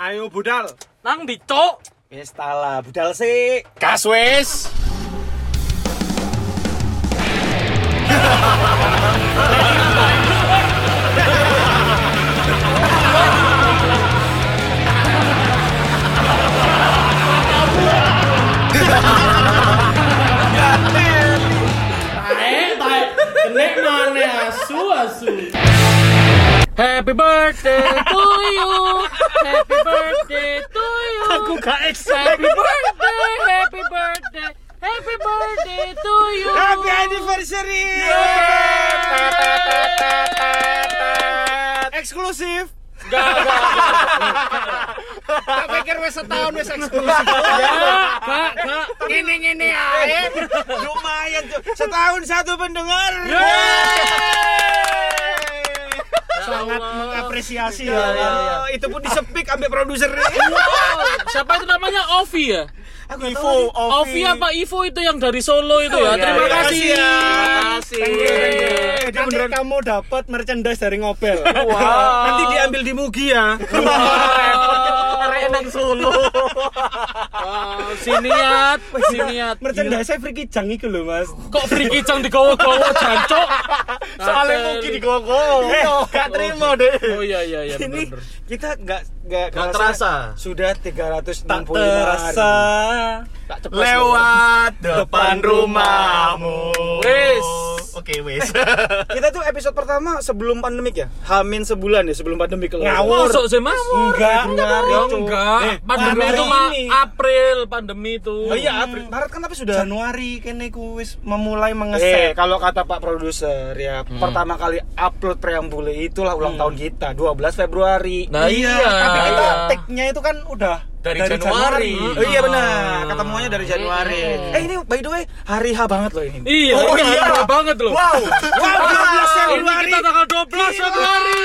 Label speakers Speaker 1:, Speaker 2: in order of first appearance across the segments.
Speaker 1: Ayo budal.
Speaker 2: Nang ndi, Cuk?
Speaker 1: Wis tala, budal sik.
Speaker 3: Gas wis.
Speaker 4: Eh, tai. Kenek mana asu asu.
Speaker 2: Happy birthday to you. Happy birthday to you.
Speaker 1: Aku gak
Speaker 2: Happy birthday, happy birthday. Happy birthday to you.
Speaker 1: Happy anniversary. Eksklusif.
Speaker 3: Tak pikir wis setahun wis eksklusif.
Speaker 2: Kak, kak.
Speaker 3: Ngene-ngene ae.
Speaker 1: Eh, Lumayan tuh. Setahun satu pendengar.
Speaker 3: Sangat mengapresiasi
Speaker 2: Iya,
Speaker 1: Ya, ya,
Speaker 3: ya.
Speaker 1: ya. Itu pun disepik ambek produser.
Speaker 2: Wow, Siapa itu namanya Ovi ya?
Speaker 1: Aku Ivo,
Speaker 2: Ovi apa Ivo itu yang dari Solo itu ya? Terima
Speaker 1: iya.
Speaker 2: kasih.
Speaker 1: Terima kasih ya.
Speaker 2: kasih.
Speaker 1: Eh,
Speaker 3: Yeay.
Speaker 4: Nanti kamu dapat merchandise dari ngobel.
Speaker 1: Nanti diambil di Mugi ya.
Speaker 2: Renang Solo. Siniat, siniat.
Speaker 4: Merchandise saya friki jang iku lho, Mas.
Speaker 2: Kok free kijang digowo-gowo jancok?
Speaker 3: Soalnya mungkin Oh. di gogo.
Speaker 1: Eh, gak terima deh.
Speaker 2: Oh iya iya iya.
Speaker 1: Ini
Speaker 2: bener-bener.
Speaker 1: kita nggak nggak
Speaker 3: Nggak
Speaker 1: kerasa
Speaker 3: terasa.
Speaker 1: sudah 365
Speaker 4: Tak
Speaker 1: hari.
Speaker 4: terasa.
Speaker 3: Lewat depan rumahmu.
Speaker 2: Wis.
Speaker 3: Oke, wis.
Speaker 1: Kita tuh episode pertama sebelum pandemik ya. Hamin sebulan ya sebelum pandemik kalau
Speaker 4: Ngawur.
Speaker 2: Masuk sih mas?
Speaker 4: Enggak,
Speaker 2: Ya
Speaker 4: Februari, Cuk.
Speaker 2: enggak.
Speaker 4: Eh,
Speaker 2: Pandemi
Speaker 4: Maret
Speaker 2: itu mah
Speaker 4: ini.
Speaker 2: April pandemi itu.
Speaker 1: Oh iya, April. Maret kan tapi sudah
Speaker 4: Januari kene ku wis memulai
Speaker 1: Eh,
Speaker 4: mengeset.
Speaker 1: kalau kata Pak produser ya,
Speaker 2: Hmm.
Speaker 1: pertama kali upload preambule itulah ulang tahun kita, 12 Februari.
Speaker 2: Nah iya.
Speaker 4: tapi kita
Speaker 3: Ah.
Speaker 2: Iya.
Speaker 4: tag-nya itu kan udah
Speaker 3: Dari Januari.
Speaker 2: Ah.
Speaker 1: Oh iya benar, ketemuannya dari Januari.
Speaker 2: Hmm.
Speaker 1: Eh ini by the way hari H banget loh ini.
Speaker 2: Iya,
Speaker 3: Oh,
Speaker 2: ini
Speaker 3: iya.
Speaker 2: murah banget loh.
Speaker 1: Wow, wow, 12
Speaker 2: Ini
Speaker 1: Februari.
Speaker 2: kita tanggal 12 Februari.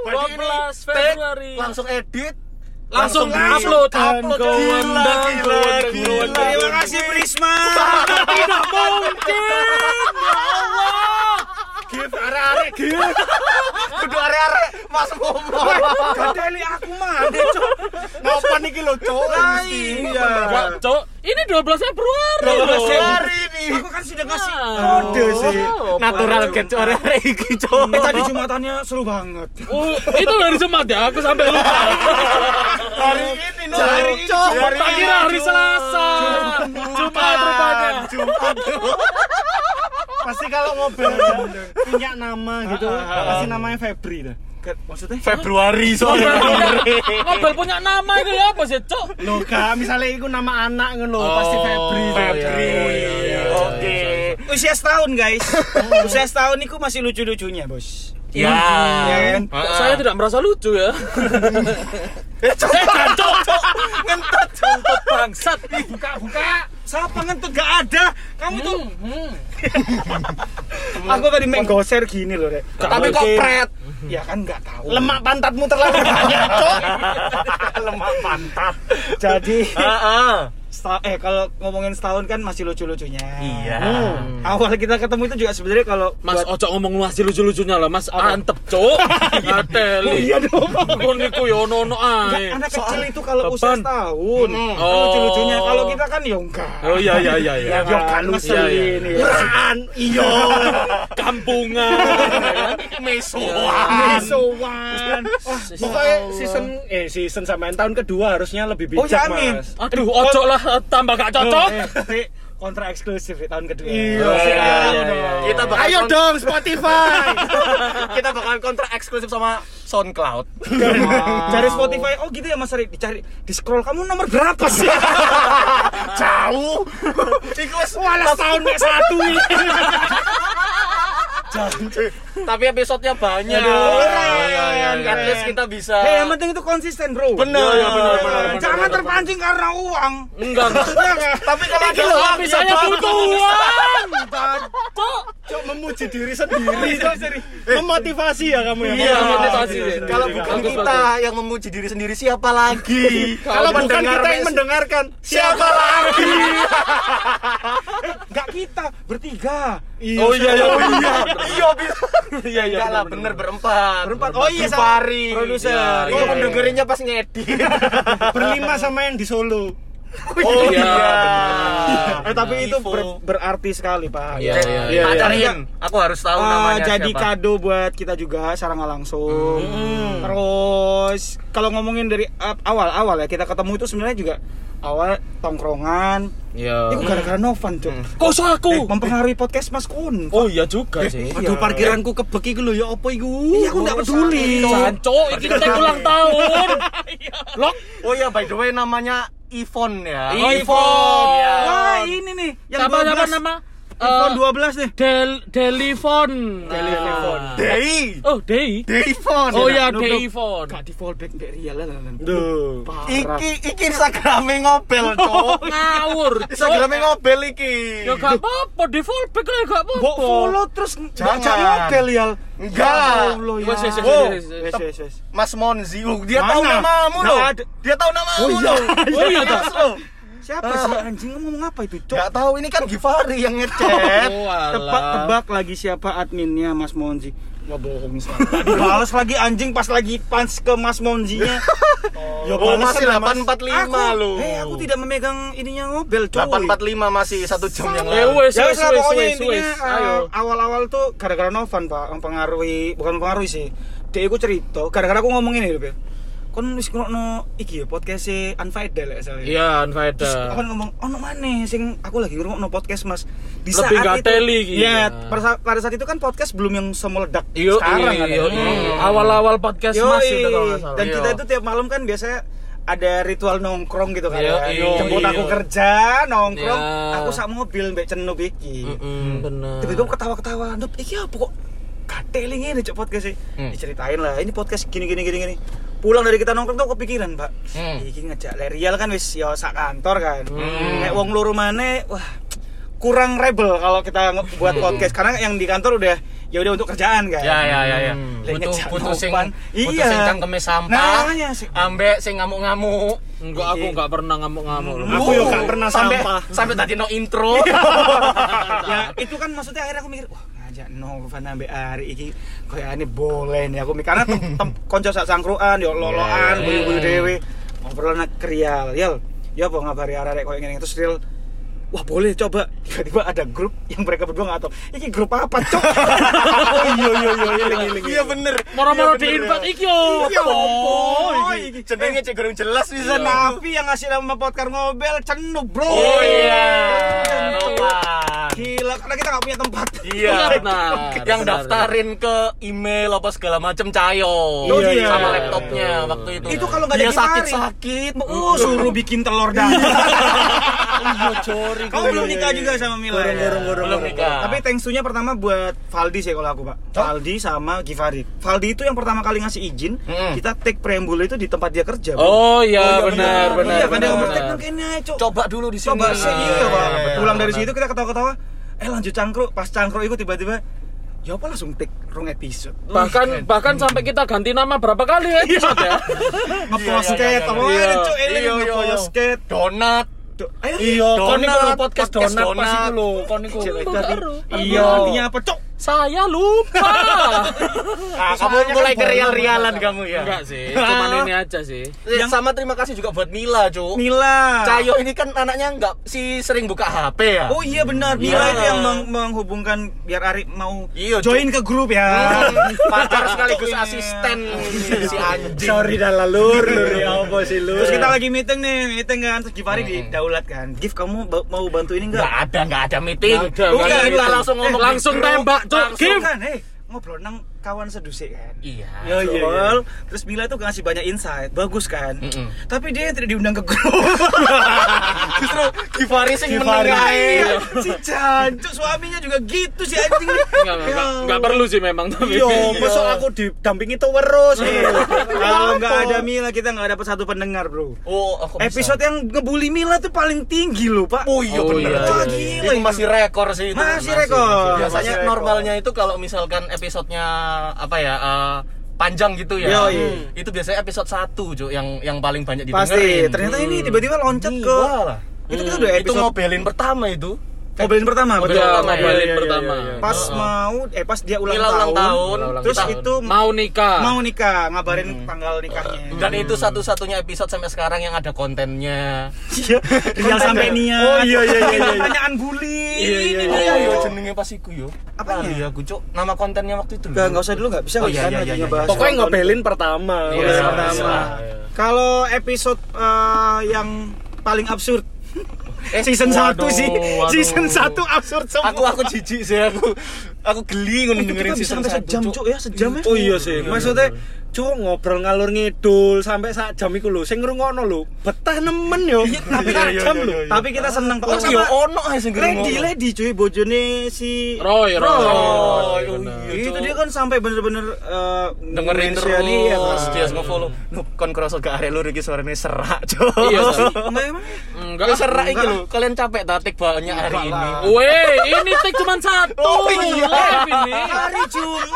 Speaker 3: Berarti ini
Speaker 2: 12
Speaker 3: take,
Speaker 2: Februari.
Speaker 3: Langsung edit.
Speaker 2: Langsung
Speaker 3: di-
Speaker 2: upload, upload.
Speaker 3: Gila,
Speaker 2: Gila,
Speaker 3: gila,
Speaker 2: gila,
Speaker 3: gila.
Speaker 2: gila.
Speaker 1: Terima kasih Prisma.
Speaker 2: Tidak mungkin. Ya Allah.
Speaker 3: Give arek-arek give. Kudu arek-arek Mas Momo.
Speaker 1: Kadeli aku Eh, mah.
Speaker 3: Ngopan iki lho, Cuk.
Speaker 1: Lah
Speaker 3: Mesti.
Speaker 1: iya.
Speaker 2: Enggak, Cok. Ini 12 Februari. loh.
Speaker 3: Hari ini.
Speaker 1: Aku kan sudah ngasih
Speaker 2: Ah.
Speaker 1: kode sih.
Speaker 2: Oh, boleh.
Speaker 3: get arek-arek iki, Cuk.
Speaker 1: Eh, tadi jumatannya seru banget.
Speaker 2: Oh, itu hari Jumat ya, aku sampai lupa.
Speaker 3: Hari ini, Cuk.
Speaker 1: Hari ini, Cuk.
Speaker 3: Hari
Speaker 2: Tak
Speaker 3: ini,
Speaker 2: kira hari
Speaker 3: Cuk.
Speaker 2: Selasa. Jumat rupanya.
Speaker 3: Jumat.
Speaker 4: pasti kalau ngobel punya nama gitu pasti namanya Febri dah.
Speaker 1: Ke- Maksudnya?
Speaker 3: Ah,
Speaker 2: Ngobel
Speaker 3: Februari soalnya.
Speaker 2: punya- Ngobel punya nama itu ya apa sih, Cok?
Speaker 4: Loh gak, misalnya itu nama anak ngono pasti Febri.
Speaker 3: Oh, Febri.
Speaker 2: iya, iya, iya,
Speaker 3: Oke.
Speaker 1: Usia setahun guys. Usia setahun niku masih lucu-lucunya bos.
Speaker 3: Ya.
Speaker 1: Iya kan?
Speaker 2: Kok
Speaker 3: Ah.
Speaker 2: Saya tidak merasa lucu ya.
Speaker 3: Eh, Cuk.
Speaker 1: Ngentot.
Speaker 2: Untuk bangsat. Buka-buka.
Speaker 1: Siapa ngentut gak ada? Kamu tuh. Aku tadi main goser gini loh rek.
Speaker 3: Tapi kok
Speaker 1: mungkin.
Speaker 3: pret.
Speaker 1: Ya kan nggak tahu.
Speaker 4: Lemak pantatmu terlalu banyak, Cok.
Speaker 3: Lemak pantat.
Speaker 1: Jadi
Speaker 3: Heeh.
Speaker 1: sta- eh kalau ngomongin setahun kan masih lucu-lucunya.
Speaker 3: Iya.
Speaker 1: Hmm. Awal kita ketemu itu juga sebenarnya kalau
Speaker 2: Mas
Speaker 1: buat-
Speaker 2: ojo ngomong masih lucu-lucunya lah, Mas. Antep, Cok. Ateli.
Speaker 4: Iya dong.
Speaker 2: Pun niku yo ono ae.
Speaker 1: anak kecil itu kalau usia
Speaker 2: beban.
Speaker 1: setahun
Speaker 3: Mm-mm.
Speaker 1: kan lucu-lucunya.
Speaker 2: Oh.
Speaker 1: Kalau kita kan ya enggak.
Speaker 2: Oh iya iya iya iya.
Speaker 1: Ya kan ngeselin. ya.
Speaker 4: Kan iya.
Speaker 2: Kampungan. Iya.
Speaker 1: Oh, iya,
Speaker 3: Mesoan.
Speaker 4: Sowan. Wah, Pokoknya season eh season sampean tahun kedua harusnya lebih bijak,
Speaker 1: Oh, ya, amin.
Speaker 4: Mas.
Speaker 2: Aduh, ojo lah tambah gak cocok.
Speaker 1: Eh, kontra eksklusif ya, tahun kedua.
Speaker 4: Iya,
Speaker 3: iya,
Speaker 4: sekarang
Speaker 2: iya,
Speaker 4: dong.
Speaker 2: iya.
Speaker 3: Kita bakal
Speaker 4: Ayo dong Spotify.
Speaker 3: kita bakal Kan kontrak eksklusif sama SoundCloud.
Speaker 1: Cari Spotify, oh gitu ya Mas Ari, dicari di scroll kamu nomor berapa sih?
Speaker 3: Jauh. Iku wis
Speaker 4: Walah tahun mek satu ini.
Speaker 3: tapi episode-nya banyak.
Speaker 1: Aduh,
Speaker 3: Iya, iya, iya. At least kita bisa
Speaker 1: Eh yang penting itu konsisten bro.
Speaker 3: Bener,
Speaker 1: Iya, iya, bener,
Speaker 3: iya,
Speaker 1: bener,
Speaker 3: bener,
Speaker 1: Jangan
Speaker 3: bener,
Speaker 1: terpancing karena uang.
Speaker 2: Enggak.
Speaker 1: Iya nggak?
Speaker 3: Tapi kalau ada
Speaker 2: Tapi saya butuh uang. Cok,
Speaker 4: Cok memuji diri sendiri.
Speaker 1: Iya,
Speaker 4: Cok. Memotivasi ya kamu ya.
Speaker 3: Iya,
Speaker 2: motivasi.
Speaker 3: Kalau
Speaker 1: Iya,
Speaker 3: bukan
Speaker 2: Bagus,
Speaker 3: kita yang memuji diri sendiri siapa lagi?
Speaker 4: Kalau bukan kita
Speaker 3: mendengar
Speaker 4: yang
Speaker 3: mes-
Speaker 4: mendengarkan,
Speaker 3: siapa lagi?
Speaker 1: Enggak Eh, kita bertiga.
Speaker 4: Iya.
Speaker 3: Oh iya, iya, oh iya. Iya,
Speaker 2: Iya, iya.
Speaker 3: Enggak lah, bener berempat.
Speaker 1: Berempat. Oh iya, sama
Speaker 3: Berpari.
Speaker 1: produser. Iya,
Speaker 3: Iya, iya.
Speaker 1: iya.
Speaker 3: dengerinnya pas ngedit.
Speaker 4: berlima sama yang di Solo.
Speaker 3: Oh
Speaker 2: Iya,
Speaker 3: iya.
Speaker 1: Eh tapi itu
Speaker 3: Info.
Speaker 1: ber- berarti sekali Pak.
Speaker 2: Iya,
Speaker 3: Cek,
Speaker 2: iya,
Speaker 1: iya.
Speaker 3: pacarin. Aku harus tahu
Speaker 1: Eh,
Speaker 3: namanya
Speaker 1: jadi
Speaker 3: siapa.
Speaker 1: kado buat kita juga secara nggak langsung. Terus kalau ngomongin dari ap- awal-awal ya kita ketemu itu sebenarnya juga awal tongkrongan.
Speaker 2: Iya.
Speaker 1: Itu gara-gara Novan tuh.
Speaker 2: Kok
Speaker 1: Eh,
Speaker 2: usah aku?
Speaker 1: Mempengaruhi podcast Mas Kun.
Speaker 2: Hmm. Oh iya juga sih.
Speaker 1: Aduh,
Speaker 4: parkiranku kebeki iku lho ya apa iku?
Speaker 1: Iya, aku nggak peduli. Iya.
Speaker 2: Canco, ini kita ulang tahun. Lok.
Speaker 3: Oh iya, by the way namanya Ivon ya.
Speaker 2: Ivon.
Speaker 3: Iya.
Speaker 1: Wah, ini nih yang
Speaker 2: Siapa siapa
Speaker 1: 12.
Speaker 2: nama?
Speaker 1: iPhone 12
Speaker 2: Eh,
Speaker 1: nih.
Speaker 2: Del Delifon. Delifon.
Speaker 3: Dei.
Speaker 2: Oh, Dei.
Speaker 3: Deivon.
Speaker 2: Oh iya,
Speaker 1: Nuk, nuk.
Speaker 2: Delifon.
Speaker 1: Gak di fallback dari real lah. lah, lah.
Speaker 4: Duh.
Speaker 1: Parah.
Speaker 3: Iki iki Instagrame ngobel, Cok.
Speaker 2: Ngawur.
Speaker 3: Instagrame ngobel iki.
Speaker 2: Ya gak apa-apa, di fallback lah ya, gak
Speaker 1: Mbok
Speaker 2: apa-apa. Oh,
Speaker 1: follow terus
Speaker 3: Jangan.
Speaker 1: jangan ngobel ya.
Speaker 3: Enggak.
Speaker 1: Ya Allah, ya.
Speaker 2: Wes, wes, wes,
Speaker 1: Oh,
Speaker 2: wes, wes.
Speaker 1: wes, wes, wes.
Speaker 3: Mas Monzi, oh, dia
Speaker 1: Mana?
Speaker 3: tahu namamu
Speaker 1: Nggak
Speaker 3: loh.
Speaker 1: ada.
Speaker 3: Dia tahu namamu
Speaker 1: Oh, iya.
Speaker 3: loh.
Speaker 2: Oh iya, tak?
Speaker 3: Yes, loh.
Speaker 1: Siapa sih anjing ngomong apa itu? Cok,
Speaker 3: Gak tahu ini kan Givari yang ngechat.
Speaker 2: Oh, alah.
Speaker 1: tebak-tebak lagi siapa adminnya Mas Monzi. Wah bohong misalnya. Balas lagi anjing pas lagi pans ke Mas Monzinya.
Speaker 4: Ya
Speaker 3: Oh, masih
Speaker 4: panasan, Mas.
Speaker 3: 845 loh.
Speaker 1: Eh, aku tidak memegang ininya ngobel, cuy.
Speaker 3: 845 masih satu jam yang
Speaker 2: Ya
Speaker 3: lalu.
Speaker 2: wes,
Speaker 1: Ya
Speaker 2: wes,
Speaker 1: wes lah,
Speaker 2: wes,
Speaker 1: pokoknya
Speaker 2: wes,
Speaker 1: intinya
Speaker 2: wes.
Speaker 1: eh,
Speaker 2: Ayo.
Speaker 1: awal-awal tuh gara-gara Novan pak mempengaruhi bukan mempengaruhi sih dia itu cerita gara-gara aku ngomong ini loh Bel kon wis ngrokno iki ya podcast si Unfaidel ya soalnya
Speaker 2: Iya,
Speaker 1: terus
Speaker 2: Anfaida.
Speaker 1: aku ngomong "Oh, ono mana sing aku lagi ngomong podcast mas di
Speaker 2: Lebih nggak teli gitu.
Speaker 1: Iya, pada, saat- pada saat itu kan podcast belum yang semeledak
Speaker 2: Yo,
Speaker 1: sekarang kan
Speaker 2: yo,
Speaker 1: ya.
Speaker 2: yo. awal-awal podcast
Speaker 1: Yoi.
Speaker 2: Mas iya. itu kalau nggak salah. Iya.
Speaker 1: dan
Speaker 2: Yo.
Speaker 1: kita itu tiap malam kan biasanya ada ritual nongkrong gitu kan
Speaker 2: Yo,
Speaker 1: ya.
Speaker 2: yo,
Speaker 1: jemput
Speaker 2: yo.
Speaker 1: aku kerja nongkrong
Speaker 2: Ya.
Speaker 1: aku sak mobil mbak cenup iki
Speaker 2: Mm-mm, bener.
Speaker 3: Eh.
Speaker 1: tiba-tiba aku ketawa-ketawa Nup, iki apa kok kateling ini cok podcast sih
Speaker 3: Hmm.
Speaker 1: diceritain lah ini podcast gini gini gini gini pulang dari kita nongkrong tuh aku kepikiran pak
Speaker 3: Hmm.
Speaker 1: iki ngejak Lerial kan wis ya sak kantor kan
Speaker 3: Hmm.
Speaker 1: kayak wong loro mana wah kurang rebel kalau kita nge- buat podcast karena yang di kantor udah ya udah untuk kerjaan kan
Speaker 3: Hmm. Ya ya ya ya.
Speaker 2: Hmm.
Speaker 1: Lah,
Speaker 3: Butuh
Speaker 1: ngejak
Speaker 3: butuh sing
Speaker 1: nopan.
Speaker 3: butuh
Speaker 1: Iya.
Speaker 3: sing cangkeme
Speaker 1: Nah,
Speaker 3: sampah.
Speaker 1: makanya sih.
Speaker 3: Ambek sing ngamuk-ngamuk.
Speaker 2: Enggak, aku
Speaker 1: Iki.
Speaker 2: nggak pernah ngamuk-ngamuk.
Speaker 1: Mm,
Speaker 4: Aku yo gak pernah
Speaker 3: sampai
Speaker 4: sampah.
Speaker 3: sampai tadi no intro.
Speaker 1: ya itu kan maksudnya akhirnya aku mikir wah ngajak Novan ambek Ari iki kayak ini boleh nih aku mikir karena tem, tem konco sak sangkruan yo loloan
Speaker 2: Iya, iya,
Speaker 1: buyu-buyu
Speaker 2: iya.
Speaker 1: dhewe ngobrol nak krial yo yo apa ngabari arek koyo ngene terus real Wah boleh coba tiba-tiba ada grup yang mereka berdua nggak tahu ini grup apa cok oh iya iya iya iya
Speaker 3: Iya bener.
Speaker 2: Moro-moro
Speaker 3: Iya,
Speaker 2: di
Speaker 3: bener,
Speaker 2: invite
Speaker 3: ya.
Speaker 2: iki yo.
Speaker 1: Iya, opo.
Speaker 3: Oh, iki jenenge cek goreng jelas bisa
Speaker 1: Iya.
Speaker 3: nah.
Speaker 1: tapi yang ngasih nama podcast ngobel cenup bro
Speaker 3: Oh iya.
Speaker 1: gila karena kita nggak punya tempat
Speaker 3: Iya.
Speaker 2: Iya, benar.
Speaker 3: Yang
Speaker 2: Benar,
Speaker 3: daftarin ke email apa segala macam Cayo.
Speaker 1: Iya, iya.
Speaker 3: sama laptopnya
Speaker 2: Iya.
Speaker 3: waktu itu.
Speaker 1: itu kalau nggak ada
Speaker 3: Dia
Speaker 1: Givari.
Speaker 3: sakit-sakit.
Speaker 1: Oh, suruh bikin telur dadar. Iya, Kamu belum nikah juga sama Mila. ya?
Speaker 3: Belum nikah.
Speaker 1: Tapi thanks to-nya pertama buat Valdi sih kalau aku, Pak. Valdi sama Givari. Valdi itu yang pertama kali ngasih izin,
Speaker 3: Mm-mm.
Speaker 1: kita take preambule itu di tempat dia kerja. Bu.
Speaker 2: Oh iya, benar, benar.
Speaker 1: Iya, kan dia
Speaker 2: benar,
Speaker 1: ngomong
Speaker 2: benar.
Speaker 1: take nang kene ae, Cok.
Speaker 3: coba dulu di sini.
Speaker 1: Coba sih iya, Pak.
Speaker 3: Iya, iya,
Speaker 1: Pulang dari
Speaker 3: benar.
Speaker 1: situ kita ketawa-ketawa. Eh, lanjut cangkruk. Pas cangkruk itu tiba-tiba Ya apa langsung take rong episode.
Speaker 2: Bahkan bahkan sampai kita ganti nama berapa kali episode ya?
Speaker 1: Ngepost
Speaker 3: iya, iya,
Speaker 1: skate apa
Speaker 3: iya.
Speaker 1: aja, Cok. Eling
Speaker 3: Iya, iya, iya.
Speaker 1: ngepost skate.
Speaker 3: donat.
Speaker 1: Do- Ayo.
Speaker 2: Iya, kon niku lho
Speaker 3: Donat,
Speaker 2: podcast
Speaker 3: podcast
Speaker 2: donat pas
Speaker 3: donat.
Speaker 2: iku lho, kon niku
Speaker 1: Cek,
Speaker 2: Lu
Speaker 1: Cok.
Speaker 2: karo.
Speaker 1: Iya,
Speaker 2: Aku.
Speaker 1: artinya apa, Cok?
Speaker 2: Saya lupa.
Speaker 3: Ah, kamu mulai ke real-realan kamu ya.
Speaker 2: Enggak sih, cuman ini aja sih.
Speaker 3: Eh, sama terima kasih juga buat Mila, Cuk.
Speaker 1: Mila.
Speaker 3: Cayo ini kan anaknya enggak si sering buka HP ya.
Speaker 1: Oh iya benar, Mila
Speaker 3: Iya.
Speaker 1: itu yang meng- menghubungkan biar Ari mau
Speaker 3: Iya, Cuk.
Speaker 1: join ke grup ya.
Speaker 3: pacar sekaligus asisten si
Speaker 1: Iya.
Speaker 3: anjing.
Speaker 1: Sorry dah lah, lur, lur ya apa sih lur. Terus kita lagi meeting nih, meeting kan terus Givari di Daulat kan. Gif kamu ba- mau bantu ini
Speaker 3: Enggak
Speaker 1: enggak?
Speaker 3: ada, enggak ada meeting.
Speaker 2: Nggak ada,
Speaker 3: Bukan,
Speaker 2: nggak ada
Speaker 3: kita
Speaker 2: meeting.
Speaker 3: langsung ngomong
Speaker 2: Eh, langsung
Speaker 3: di grup.
Speaker 2: tembak, Cuk.
Speaker 3: Langsung.
Speaker 2: Gif.
Speaker 1: kan, eh ngobrol nang kawan sedusik kan
Speaker 3: Iya.
Speaker 1: Ya, iya, Terus Mila tuh ngasih banyak insight, bagus kan?
Speaker 3: Mm-mm.
Speaker 1: Tapi dia yang tidak diundang ke grup.
Speaker 3: Justru Givari sing
Speaker 5: Givari.
Speaker 3: menengahi.
Speaker 1: si jancuk suaminya juga gitu sih anjing. Ya
Speaker 2: Enggak, enggak, enggak perlu sih memang tapi.
Speaker 5: Iya,
Speaker 1: Yo, besok aku didampingi terus. eh.
Speaker 4: Iya.
Speaker 1: Kalau nggak ada Mila kita nggak dapat satu pendengar, bro.
Speaker 3: Oh, aku bisa.
Speaker 1: Episode yang ngebully Mila tuh paling tinggi loh, Pak.
Speaker 3: Oh iya
Speaker 2: Oh,
Speaker 3: bener.
Speaker 2: iya,
Speaker 1: Wah,
Speaker 2: iya, iya.
Speaker 1: gila.
Speaker 3: Itu masih rekor sih itu.
Speaker 1: Masih rekor. Iya,
Speaker 3: Biasanya
Speaker 1: Masih rekor.
Speaker 3: normalnya itu kalau misalkan episodenya apa ya eh, panjang gitu ya.
Speaker 1: Yoi.
Speaker 3: Hmm. Itu biasanya episode 1, Cuk, yang yang paling banyak didengerin.
Speaker 1: Pasti. Ternyata ini tiba-tiba loncat
Speaker 3: Iya
Speaker 1: ke
Speaker 3: lah.
Speaker 1: Itu kita
Speaker 3: Hmm.
Speaker 1: udah
Speaker 3: Itu
Speaker 1: episode
Speaker 3: ngobelin pertama itu.
Speaker 1: Mobilin pertama, betul.
Speaker 3: Mobilin
Speaker 2: Udah
Speaker 3: pertama,
Speaker 1: Iya,
Speaker 2: ngobrolin
Speaker 1: iya, iya.
Speaker 2: pertama.
Speaker 1: Pas
Speaker 3: Heeh.
Speaker 1: mau eh pas dia ulang
Speaker 3: Mila
Speaker 1: tahun.
Speaker 3: ulang tahun,
Speaker 2: ulang
Speaker 1: Terus
Speaker 3: tahun. Hmm.
Speaker 1: itu
Speaker 2: Mau nikah.
Speaker 1: mau nikah, ngabarin tanggal nikahnya.
Speaker 3: Dan itu satu-satunya episode sampai sekarang yang ada kontennya.
Speaker 1: Iya, tinggal sampai
Speaker 3: ya?
Speaker 1: niat.
Speaker 5: Oh, iya, iya, iya, iya.
Speaker 1: Pertanyaan bully.
Speaker 5: Iya, iya,
Speaker 1: ini,
Speaker 5: iya.
Speaker 1: ini,
Speaker 3: iya
Speaker 1: ini.
Speaker 3: jenenge pas iku yo.
Speaker 1: Apanya?
Speaker 3: Lali aku, Cuk. Nama kontennya waktu itu.
Speaker 1: Enggak, enggak usah dulu enggak bisa
Speaker 3: Oh,
Speaker 1: nggak
Speaker 3: iya,
Speaker 1: bisa,
Speaker 3: iya,
Speaker 1: lagi
Speaker 3: iya,
Speaker 1: ngebahas
Speaker 3: iya.
Speaker 5: Pokoknya
Speaker 1: nonton.
Speaker 5: ngobelin pertama.
Speaker 1: Iya,
Speaker 5: Ngobelin
Speaker 1: iya,
Speaker 5: pertama.
Speaker 1: iya. Kalau episode eh, yang paling absurd season
Speaker 3: waduh,
Speaker 1: 1 sih.
Speaker 3: waduh.
Speaker 1: Season 1 absurd semua.
Speaker 3: Aku aku jijik sih aku. Aku
Speaker 5: Eh,
Speaker 3: geli ngono
Speaker 1: Itu
Speaker 3: dengerin
Speaker 1: kita bisa
Speaker 3: season
Speaker 1: sampai
Speaker 3: 1.
Speaker 1: sejam, Cuk ya, sejam ya.
Speaker 5: Oh iya sih.
Speaker 1: Maksudnya
Speaker 5: Maksudnya cuk ngobrol ngalur ngidul sampai saat jam iku lho. Sing ngrungokno lho, betah nemen yo.
Speaker 1: Iya,
Speaker 5: Tapi sak jam lho.
Speaker 1: tapi kita seneng
Speaker 3: Oh,
Speaker 1: Pak.
Speaker 3: iya
Speaker 1: Sama
Speaker 3: ono ae sing
Speaker 1: iya. Lady
Speaker 3: ngerungokno.
Speaker 1: Lady cuy bojone si
Speaker 2: Roy, Roy. Roy,
Speaker 3: Oh,
Speaker 2: bener.
Speaker 3: iya,
Speaker 1: itu
Speaker 3: Cuk.
Speaker 1: dia kan sampai bener-bener eh,
Speaker 3: dengerin
Speaker 1: mention
Speaker 3: terus
Speaker 5: ya,
Speaker 1: iya, kan.
Speaker 3: dia nge-follow. Nuh, kon kroso gak arek lur iki suarane serak, Cuk.
Speaker 2: Iya, serak.
Speaker 1: Enggak emang?
Speaker 2: Enggak.
Speaker 3: Enggak serak
Speaker 1: enggak.
Speaker 3: iki lho. Kalian capek tatik banyak hari ini.
Speaker 2: Weh, ini take cuma satu.
Speaker 3: Oh, iya.
Speaker 2: Live ini
Speaker 1: Hari Jumat.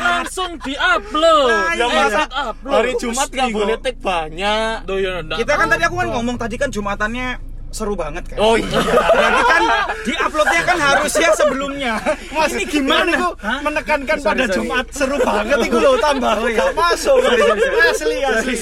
Speaker 2: langsung di-upload.
Speaker 1: Ya,
Speaker 2: Eh,
Speaker 1: masa-
Speaker 2: set upload.
Speaker 3: Hari Jumat gak
Speaker 1: Gusti,
Speaker 3: boleh
Speaker 1: kok.
Speaker 3: tek banyak.
Speaker 2: Duh, ya, enggak.
Speaker 1: Kita kan tadi aku kan ngomong tadi kan Jumatannya seru banget kan.
Speaker 3: Oh iya.
Speaker 1: Berarti kan di uploadnya kan harusnya sebelumnya.
Speaker 5: Mas ini gimana kok menekankan pada Jumat seru banget iku lho tambah. Gak masuk. Asli asli.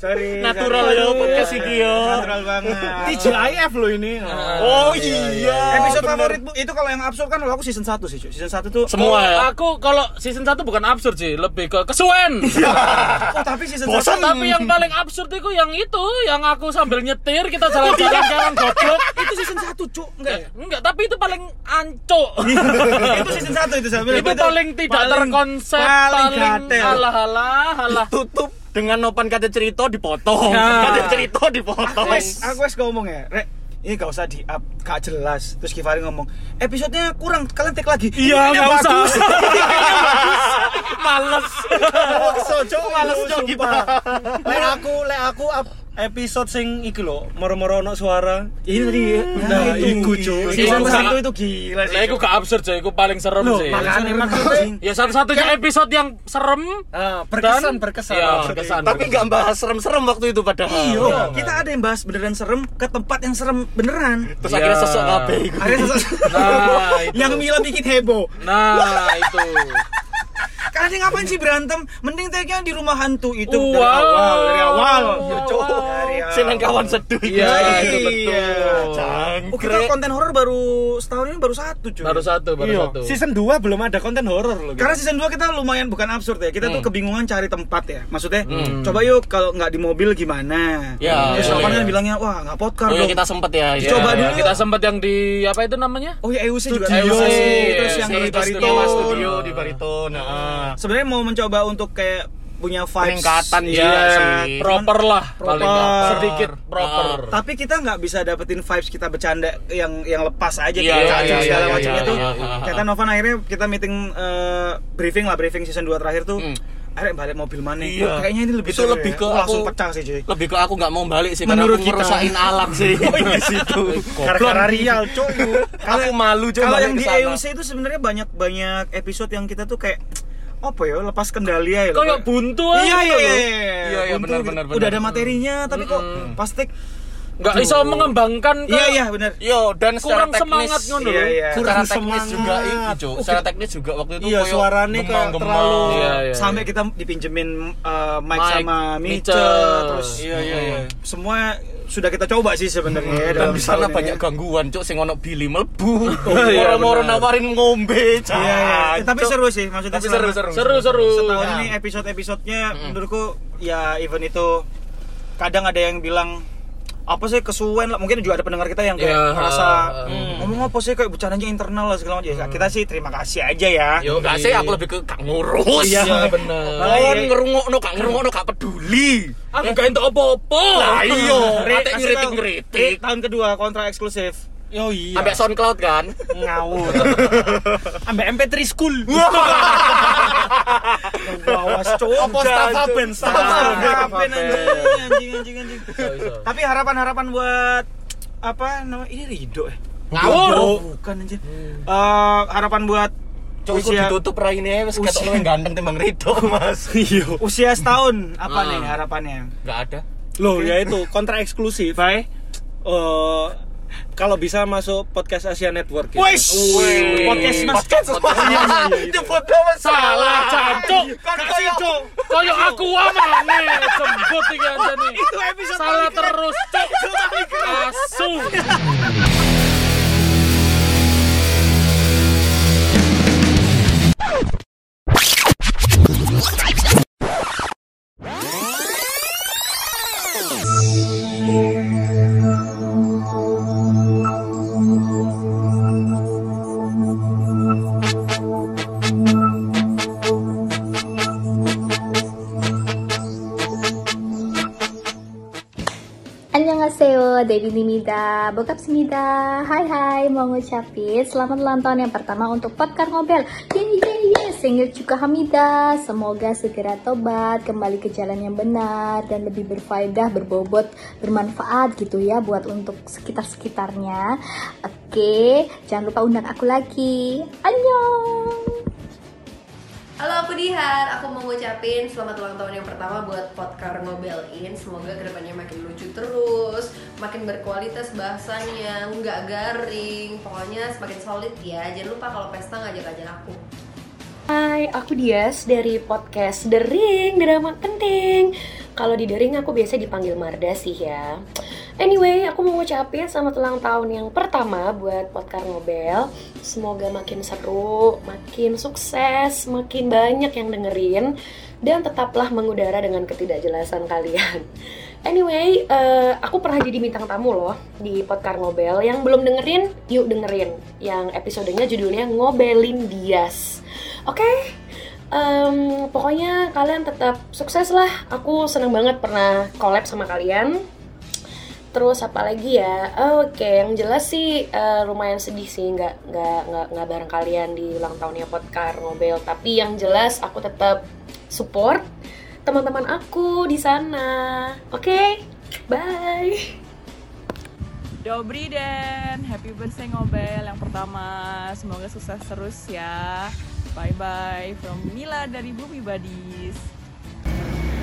Speaker 1: Sorry.
Speaker 3: Natural
Speaker 1: sorry.
Speaker 3: yo podcast iki yo.
Speaker 1: Natural banget.
Speaker 5: TGIF lho ini.
Speaker 1: Ah.
Speaker 3: Oh iya.
Speaker 1: Episode favorit bu itu kalau yang absurd kan kalau aku season 1 sih cuy. Season 1 tuh
Speaker 3: Semua ya?
Speaker 2: Aku kalau season 1 bukan absurd sih, lebih ke kesuwen.
Speaker 1: Oh, tapi season
Speaker 3: Bosan.
Speaker 1: 1
Speaker 2: Tapi yang paling absurd itu yang itu, yang aku sambil nyetir kita jalan-jalan jalan goblok.
Speaker 1: itu season 1 cuy. Enggak. ya?
Speaker 2: Enggak, tapi itu paling ancok.
Speaker 1: itu season 1 itu saya bilang.
Speaker 2: itu paling tidak terkonsep,
Speaker 1: paling
Speaker 2: paling,
Speaker 1: gatel.
Speaker 2: halah halah halah.
Speaker 3: Tutup dengan nopan kata cerita dipotong.
Speaker 2: Ya.
Speaker 3: Kata cerita dipotong.
Speaker 1: Aku wes, aku wes ngomong ya, Rek. Ini gak usah di up, gak jelas. Terus Givari ngomong, episodenya kurang, kalian take lagi. Ini
Speaker 2: nggak
Speaker 1: bagus.
Speaker 2: Males.
Speaker 5: Maksa cuk
Speaker 3: males, Cuk,
Speaker 5: sumpah. Lek aku lek aku up- episode sing iki lho, moro-moro ono suara.
Speaker 1: Ini tadi ya.
Speaker 5: Nah,
Speaker 1: itu
Speaker 5: iku, Cuk.
Speaker 1: Season
Speaker 2: Iku.
Speaker 1: 1 itu gila sih.
Speaker 2: Lah iku gak absurd sih, iku paling serem
Speaker 3: Iya,
Speaker 2: sih.
Speaker 1: Makanya Kan- maksudnya
Speaker 2: Ya satu-satunya episode yang serem
Speaker 5: Ah, berkesan berkesan.
Speaker 2: ya
Speaker 5: Berkesan.
Speaker 2: berkesan.
Speaker 3: Tapi nggak bahas serem-serem waktu itu padahal.
Speaker 1: Iya, kita ada yang bahas beneran serem ke tempat yang serem beneran.
Speaker 3: Terus akhirnya
Speaker 2: Iya.
Speaker 3: sesek kabeh iku.
Speaker 1: Akhirnya sosok
Speaker 2: Nah, itu.
Speaker 1: yang Mila bikin heboh.
Speaker 2: Nah, itu.
Speaker 1: Karena dia ngapain sih berantem? Mending tag-nya di rumah hantu itu dari
Speaker 2: Wow.
Speaker 1: awal, dari awal.
Speaker 2: Wow.
Speaker 1: Cuk. Dari awal.
Speaker 3: Seneng kawan seduh.
Speaker 2: Iya, itu
Speaker 1: Iya.
Speaker 2: betul.
Speaker 1: Oh, kita
Speaker 3: Jangkrik.
Speaker 1: konten horor baru setahun ini baru satu cuy.
Speaker 2: Baru satu, baru
Speaker 5: Iya,
Speaker 2: satu.
Speaker 5: season 2 belum ada konten horor loh. gitu.
Speaker 1: Karena season 2 kita lumayan bukan absurd ya. Kita
Speaker 3: Hmm.
Speaker 1: tuh kebingungan cari tempat ya. Maksudnya, coba yuk kalau nggak di mobil gimana?
Speaker 3: Ya,
Speaker 1: Terus
Speaker 2: iya,
Speaker 1: Novan
Speaker 2: iya.
Speaker 1: kan bilangnya, "Wah, nggak podcast
Speaker 3: Oh iya
Speaker 1: dong."
Speaker 3: kita sempet ya.
Speaker 2: Ya,
Speaker 1: Coba
Speaker 2: ya,
Speaker 1: dulu.
Speaker 2: Kita sempat yang di apa itu namanya?
Speaker 1: Oh ya EUC juga
Speaker 2: Studio.
Speaker 1: EUC.
Speaker 2: Iya,
Speaker 1: Terus yang
Speaker 2: iya,
Speaker 1: di
Speaker 2: iya,
Speaker 1: bariton.
Speaker 2: iya,
Speaker 3: studio di bariton. Nah.
Speaker 1: Sebenarnya mau mencoba untuk kayak punya vibes
Speaker 3: Peningkatan
Speaker 1: Iya,
Speaker 3: ya, sih.
Speaker 1: cuman-
Speaker 2: Proper lah paling Ah.
Speaker 1: Proper.
Speaker 2: nggak. sedikit proper.
Speaker 1: Tapi kita nggak bisa dapetin vibes kita bercanda yang yang lepas aja
Speaker 3: Iya,
Speaker 1: kayak
Speaker 3: iya,
Speaker 1: cacing
Speaker 3: iya,
Speaker 1: segala
Speaker 3: iya,
Speaker 1: macam
Speaker 3: iya,
Speaker 1: itu.
Speaker 3: iya, iya, iya.
Speaker 1: Kata Novan akhirnya kita meeting eh, briefing lah briefing season 2 terakhir tuh.
Speaker 3: Hmm.
Speaker 1: Arek balik mobil mana? Oh,
Speaker 3: Iya.
Speaker 1: kayaknya ini lebih
Speaker 3: Itu
Speaker 1: seru
Speaker 3: lebih
Speaker 1: ya.
Speaker 3: ke
Speaker 1: Wah, langsung
Speaker 3: aku-
Speaker 1: pecah sih cuy.
Speaker 3: Lebih ke aku nggak mau balik sih karena
Speaker 1: Menurut
Speaker 3: aku
Speaker 1: kita.
Speaker 3: ngerusakin alam sih di situ.
Speaker 5: Gara-gara real, cuy.
Speaker 3: aku malu coba
Speaker 1: Kalau
Speaker 3: balik
Speaker 1: yang
Speaker 3: ke
Speaker 1: di E
Speaker 3: sana.
Speaker 1: EUC itu sebenarnya banyak banyak episode yang kita tuh kayak apa ya lepas kendali ya.
Speaker 2: Kayak buntu aja
Speaker 1: Iya iya iya.
Speaker 2: gitu loh.
Speaker 3: Iya, iya,
Speaker 1: Buntu
Speaker 3: benar,
Speaker 1: gitu.
Speaker 3: benar,
Speaker 1: Udah
Speaker 3: benar.
Speaker 1: ada materinya tapi kok pasti
Speaker 2: Nggak bisa mengembangkan ke
Speaker 1: Iya iya benar.
Speaker 3: Yo dan
Speaker 2: kurang
Speaker 3: secara teknis
Speaker 2: semangat
Speaker 1: Iya,
Speaker 2: ngono loh.
Speaker 1: iya.
Speaker 3: Secara
Speaker 5: Kurang
Speaker 3: teknis
Speaker 5: semangat.
Speaker 3: juga itu, Cuk.
Speaker 1: Uh.
Speaker 3: Secara teknis juga waktu itu
Speaker 5: Iya,
Speaker 3: koyo
Speaker 5: suaranya kayak
Speaker 3: gemang-gemang.
Speaker 5: terlalu-
Speaker 2: Iya, iya.
Speaker 1: Sampai kita dipinjemin eh, mic,
Speaker 2: Mic,
Speaker 1: sama Mice,
Speaker 2: Mice.
Speaker 1: terus Hmm.
Speaker 3: Iya, iya, iya. Hmm.
Speaker 1: semua sudah kita coba sih sebenarnya ya,
Speaker 3: Dan
Speaker 1: dalam
Speaker 3: di sana
Speaker 1: setahun
Speaker 3: banyak
Speaker 1: ini.
Speaker 3: gangguan, Cuk, sing ono Billy melebu.
Speaker 2: iya,
Speaker 3: Moro-moro
Speaker 2: benar.
Speaker 3: nawarin ngombe, Ah, Cuk.
Speaker 1: Iya, iya. Eh, tapi seru sih maksudnya
Speaker 3: Tapi
Speaker 1: selama
Speaker 3: seru-seru.
Speaker 2: Seru seru.
Speaker 1: setahun ini
Speaker 3: Hmm.
Speaker 1: episode-episodenya menurutku ya event itu kadang ada yang bilang apa sih kesuwen lah mungkin juga ada pendengar kita yang kayak
Speaker 6: Ya.
Speaker 3: Iya,
Speaker 1: merasa
Speaker 6: Hmm.
Speaker 1: ngomong apa sih kayak bercandanya internal lah segala macam Ya,
Speaker 3: Hmm.
Speaker 1: kita sih terima kasih aja ya
Speaker 3: Iya,
Speaker 6: Yo enggak sih aku lebih ke kak ngurus.
Speaker 1: Iya,
Speaker 6: bener.
Speaker 1: Makanya-
Speaker 3: iya.
Speaker 6: Kon ngerungokno gak ngerungokno gak peduli. Aku gak entuk apa-apa. Lah iya,
Speaker 1: Ri,
Speaker 6: ate
Speaker 1: kasih tahu. Ri,
Speaker 6: ngritik-ngritik.
Speaker 1: tahun kedua kontrak eksklusif
Speaker 4: Yo iya.
Speaker 6: Ambek SoundCloud kan.
Speaker 1: ngawur
Speaker 4: Ambek MP3 school.
Speaker 1: bawas cowok
Speaker 4: Apa Stafa Ben? Stafa
Speaker 1: Stafa
Speaker 4: Ben.
Speaker 1: Ben, anjing, anjing anjing anjing tapi harapan harapan buat apa nama ini Rido eh
Speaker 6: Ngawur.
Speaker 1: bukan anjir Eh, harapan buat
Speaker 3: Cuk,
Speaker 1: usia
Speaker 3: ditutup raine wis ketok lu yang ganteng timbang Rido, Mas. Iya.
Speaker 1: usia setahun apa
Speaker 6: Ah.
Speaker 1: nih harapannya
Speaker 6: Enggak ada.
Speaker 4: Loh, ya itu kontrak eksklusif.
Speaker 1: bye
Speaker 4: Eh, kalau bisa masuk podcast Asia Network gitu.
Speaker 1: Wes,
Speaker 6: Wih.
Speaker 1: podcast mas
Speaker 3: Podcast semua. Nyebut nama
Speaker 6: Salah, cancuk.
Speaker 3: Kan koyo
Speaker 6: Koyo aku amane jembut iki anjene.
Speaker 1: itu episode
Speaker 6: Salah
Speaker 1: paling keren.
Speaker 6: terus, cuk. Asu.
Speaker 7: Annyeonghaseyo, Debbie Nimida, Bokap Simida Hai hai, mau ngucapin selamat ulang tahun yang pertama untuk Podcast Ngobel Yeay yeay yeay, singer Cuka Hamida Semoga segera tobat, kembali ke jalan yang benar Dan lebih berfaedah, berbobot, bermanfaat gitu ya Buat untuk sekitar-sekitarnya Oke, jangan lupa undang aku lagi Annyeong
Speaker 8: Halo aku Dihar, aku mau ngucapin selamat ulang tahun yang pertama buat Podcar Ngobelin Semoga kedepannya makin lucu terus, makin berkualitas bahasanya, nggak garing Pokoknya semakin solid ya, jangan lupa kalau pesta ngajak-ngajak aku
Speaker 9: Hai, aku Dias dari podcast The Ring, drama penting. Kalau di The Ring aku biasa dipanggil Marda sih ya. Anyway, aku mau ngucapin selamat ulang tahun yang pertama buat Podcar Nobel. Semoga makin seru, makin sukses, makin banyak yang dengerin dan tetaplah mengudara dengan ketidakjelasan kalian. Anyway, eh, aku pernah jadi bintang tamu loh di Podcar Ngobel. Yang belum dengerin, yuk dengerin. Yang episodenya judulnya Ngobelin Dias. Oke, Em, pokoknya kalian tetap sukses lah. Aku seneng banget pernah collab sama kalian. Terus apa lagi ya? Oh, Oke, yang jelas sih eh, lumayan sedih sih nggak nggak nggak nggak bareng kalian di ulang tahunnya Podcar Nobel. Tapi yang jelas aku tetap support teman-teman aku di sana. Oke, bye.
Speaker 10: Dobri dan happy birthday Ngobel yang pertama. Semoga sukses terus ya. Bye bye from Mila dari Bumi Badis.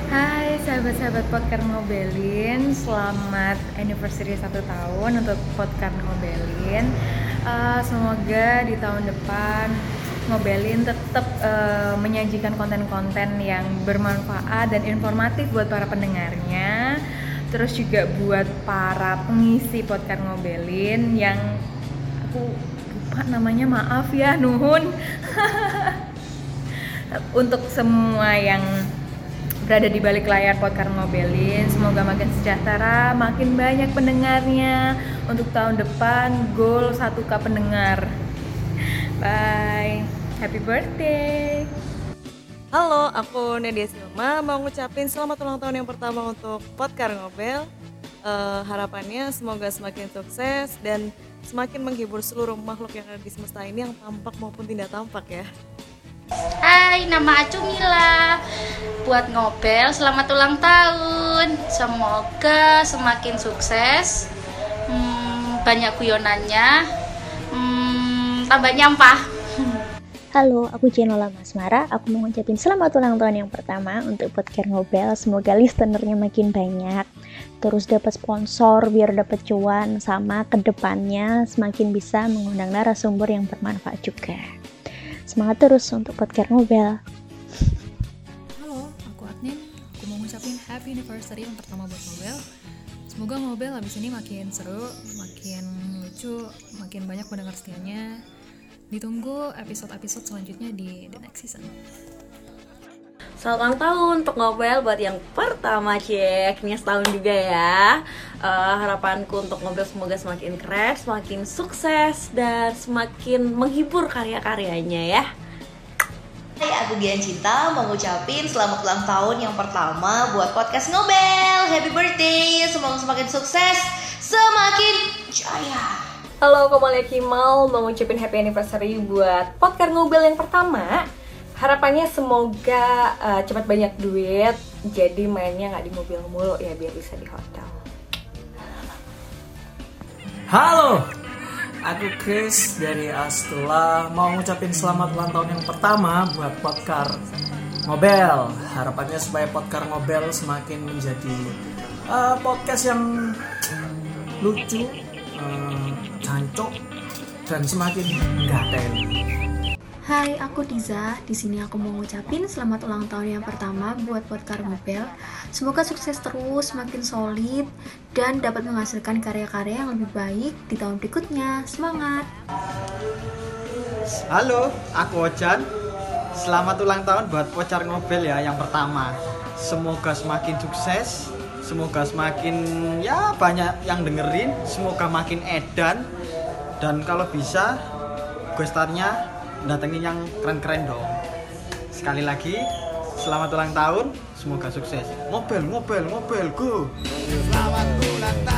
Speaker 11: Hai sahabat-sahabat Podcast Ngobelin, selamat anniversary satu tahun untuk Podcast Ngobelin. Eh, semoga di tahun depan Ngobelin tetap eh, menyajikan konten-konten yang bermanfaat dan informatif buat para pendengarnya. Terus juga buat para pengisi Podcast Ngobelin yang aku lupa namanya maaf ya Nuhun. untuk semua yang berada di balik layar podcast Ngobelin semoga makin sejahtera makin banyak pendengarnya untuk tahun depan goal 1k pendengar bye happy birthday
Speaker 12: Halo, aku Nadia Silma mau ngucapin selamat ulang tahun yang pertama untuk Podkar Ngobel. Eh, harapannya semoga semakin sukses dan semakin menghibur seluruh makhluk yang ada di semesta ini yang tampak maupun tidak tampak ya.
Speaker 7: Hai, nama Acu Mila. Buat Ngobel, selamat ulang tahun. Semoga semakin sukses. Hmm, banyak guyonannya. Hmm, tambah nyampah. Halo, aku Jenola Masmara. Aku mau ngucapin selamat ulang tahun yang pertama untuk podcast Ngobel. Semoga listenernya makin banyak. Terus dapat sponsor biar dapat cuan sama kedepannya semakin bisa mengundang narasumber yang bermanfaat juga. Semangat terus untuk podcast Nobel.
Speaker 11: halo aku Adnin aku mau ngucapin happy anniversary yang pertama buat Ngobel semoga Ngobel habis ini makin seru makin lucu makin banyak pendengar setianya ditunggu episode-episode selanjutnya di the next season
Speaker 12: Selamat ulang tahun untuk Ngobel buat yang pertama ceknya setahun juga ya.
Speaker 13: Eh, harapanku untuk ngobrol semoga semakin keren, semakin sukses dan semakin menghibur karya-karyanya ya.
Speaker 8: Hai, aku Dian Cinta mengucapin selamat ulang tahun yang pertama buat podcast Nobel. Happy birthday, semoga semakin sukses, semakin jaya.
Speaker 11: Halo, aku Malia Kimal mau ngucapin happy anniversary buat podcast Nobel yang pertama. Harapannya semoga eh, cepat banyak duit, jadi mainnya nggak di mobil mulu ya biar bisa di hotel.
Speaker 5: Halo, aku Chris dari Astula mau ngucapin selamat ulang tahun yang pertama buat Podcar Ngobel. Harapannya supaya Podcar Ngobel semakin menjadi eh, podcast yang lucu, eh, jancok, dan semakin gaten.
Speaker 7: Hai, aku Diza. Di sini aku mau ngucapin selamat ulang tahun yang pertama buat Podcar Mobile. Semoga sukses terus, makin solid, dan dapat menghasilkan karya-karya yang lebih baik di tahun berikutnya. Semangat!
Speaker 1: Halo, aku Ojan. Selamat ulang tahun buat Pocar Ngobel ya yang pertama. Semoga semakin sukses, semoga semakin ya banyak yang dengerin, semoga makin edan dan kalau bisa guestarnya datengin yang keren-keren dong. Sekali lagi, selamat ulang tahun, semoga sukses. Ngobel, ngobel, ngobel, go. Selamat ulang tahun.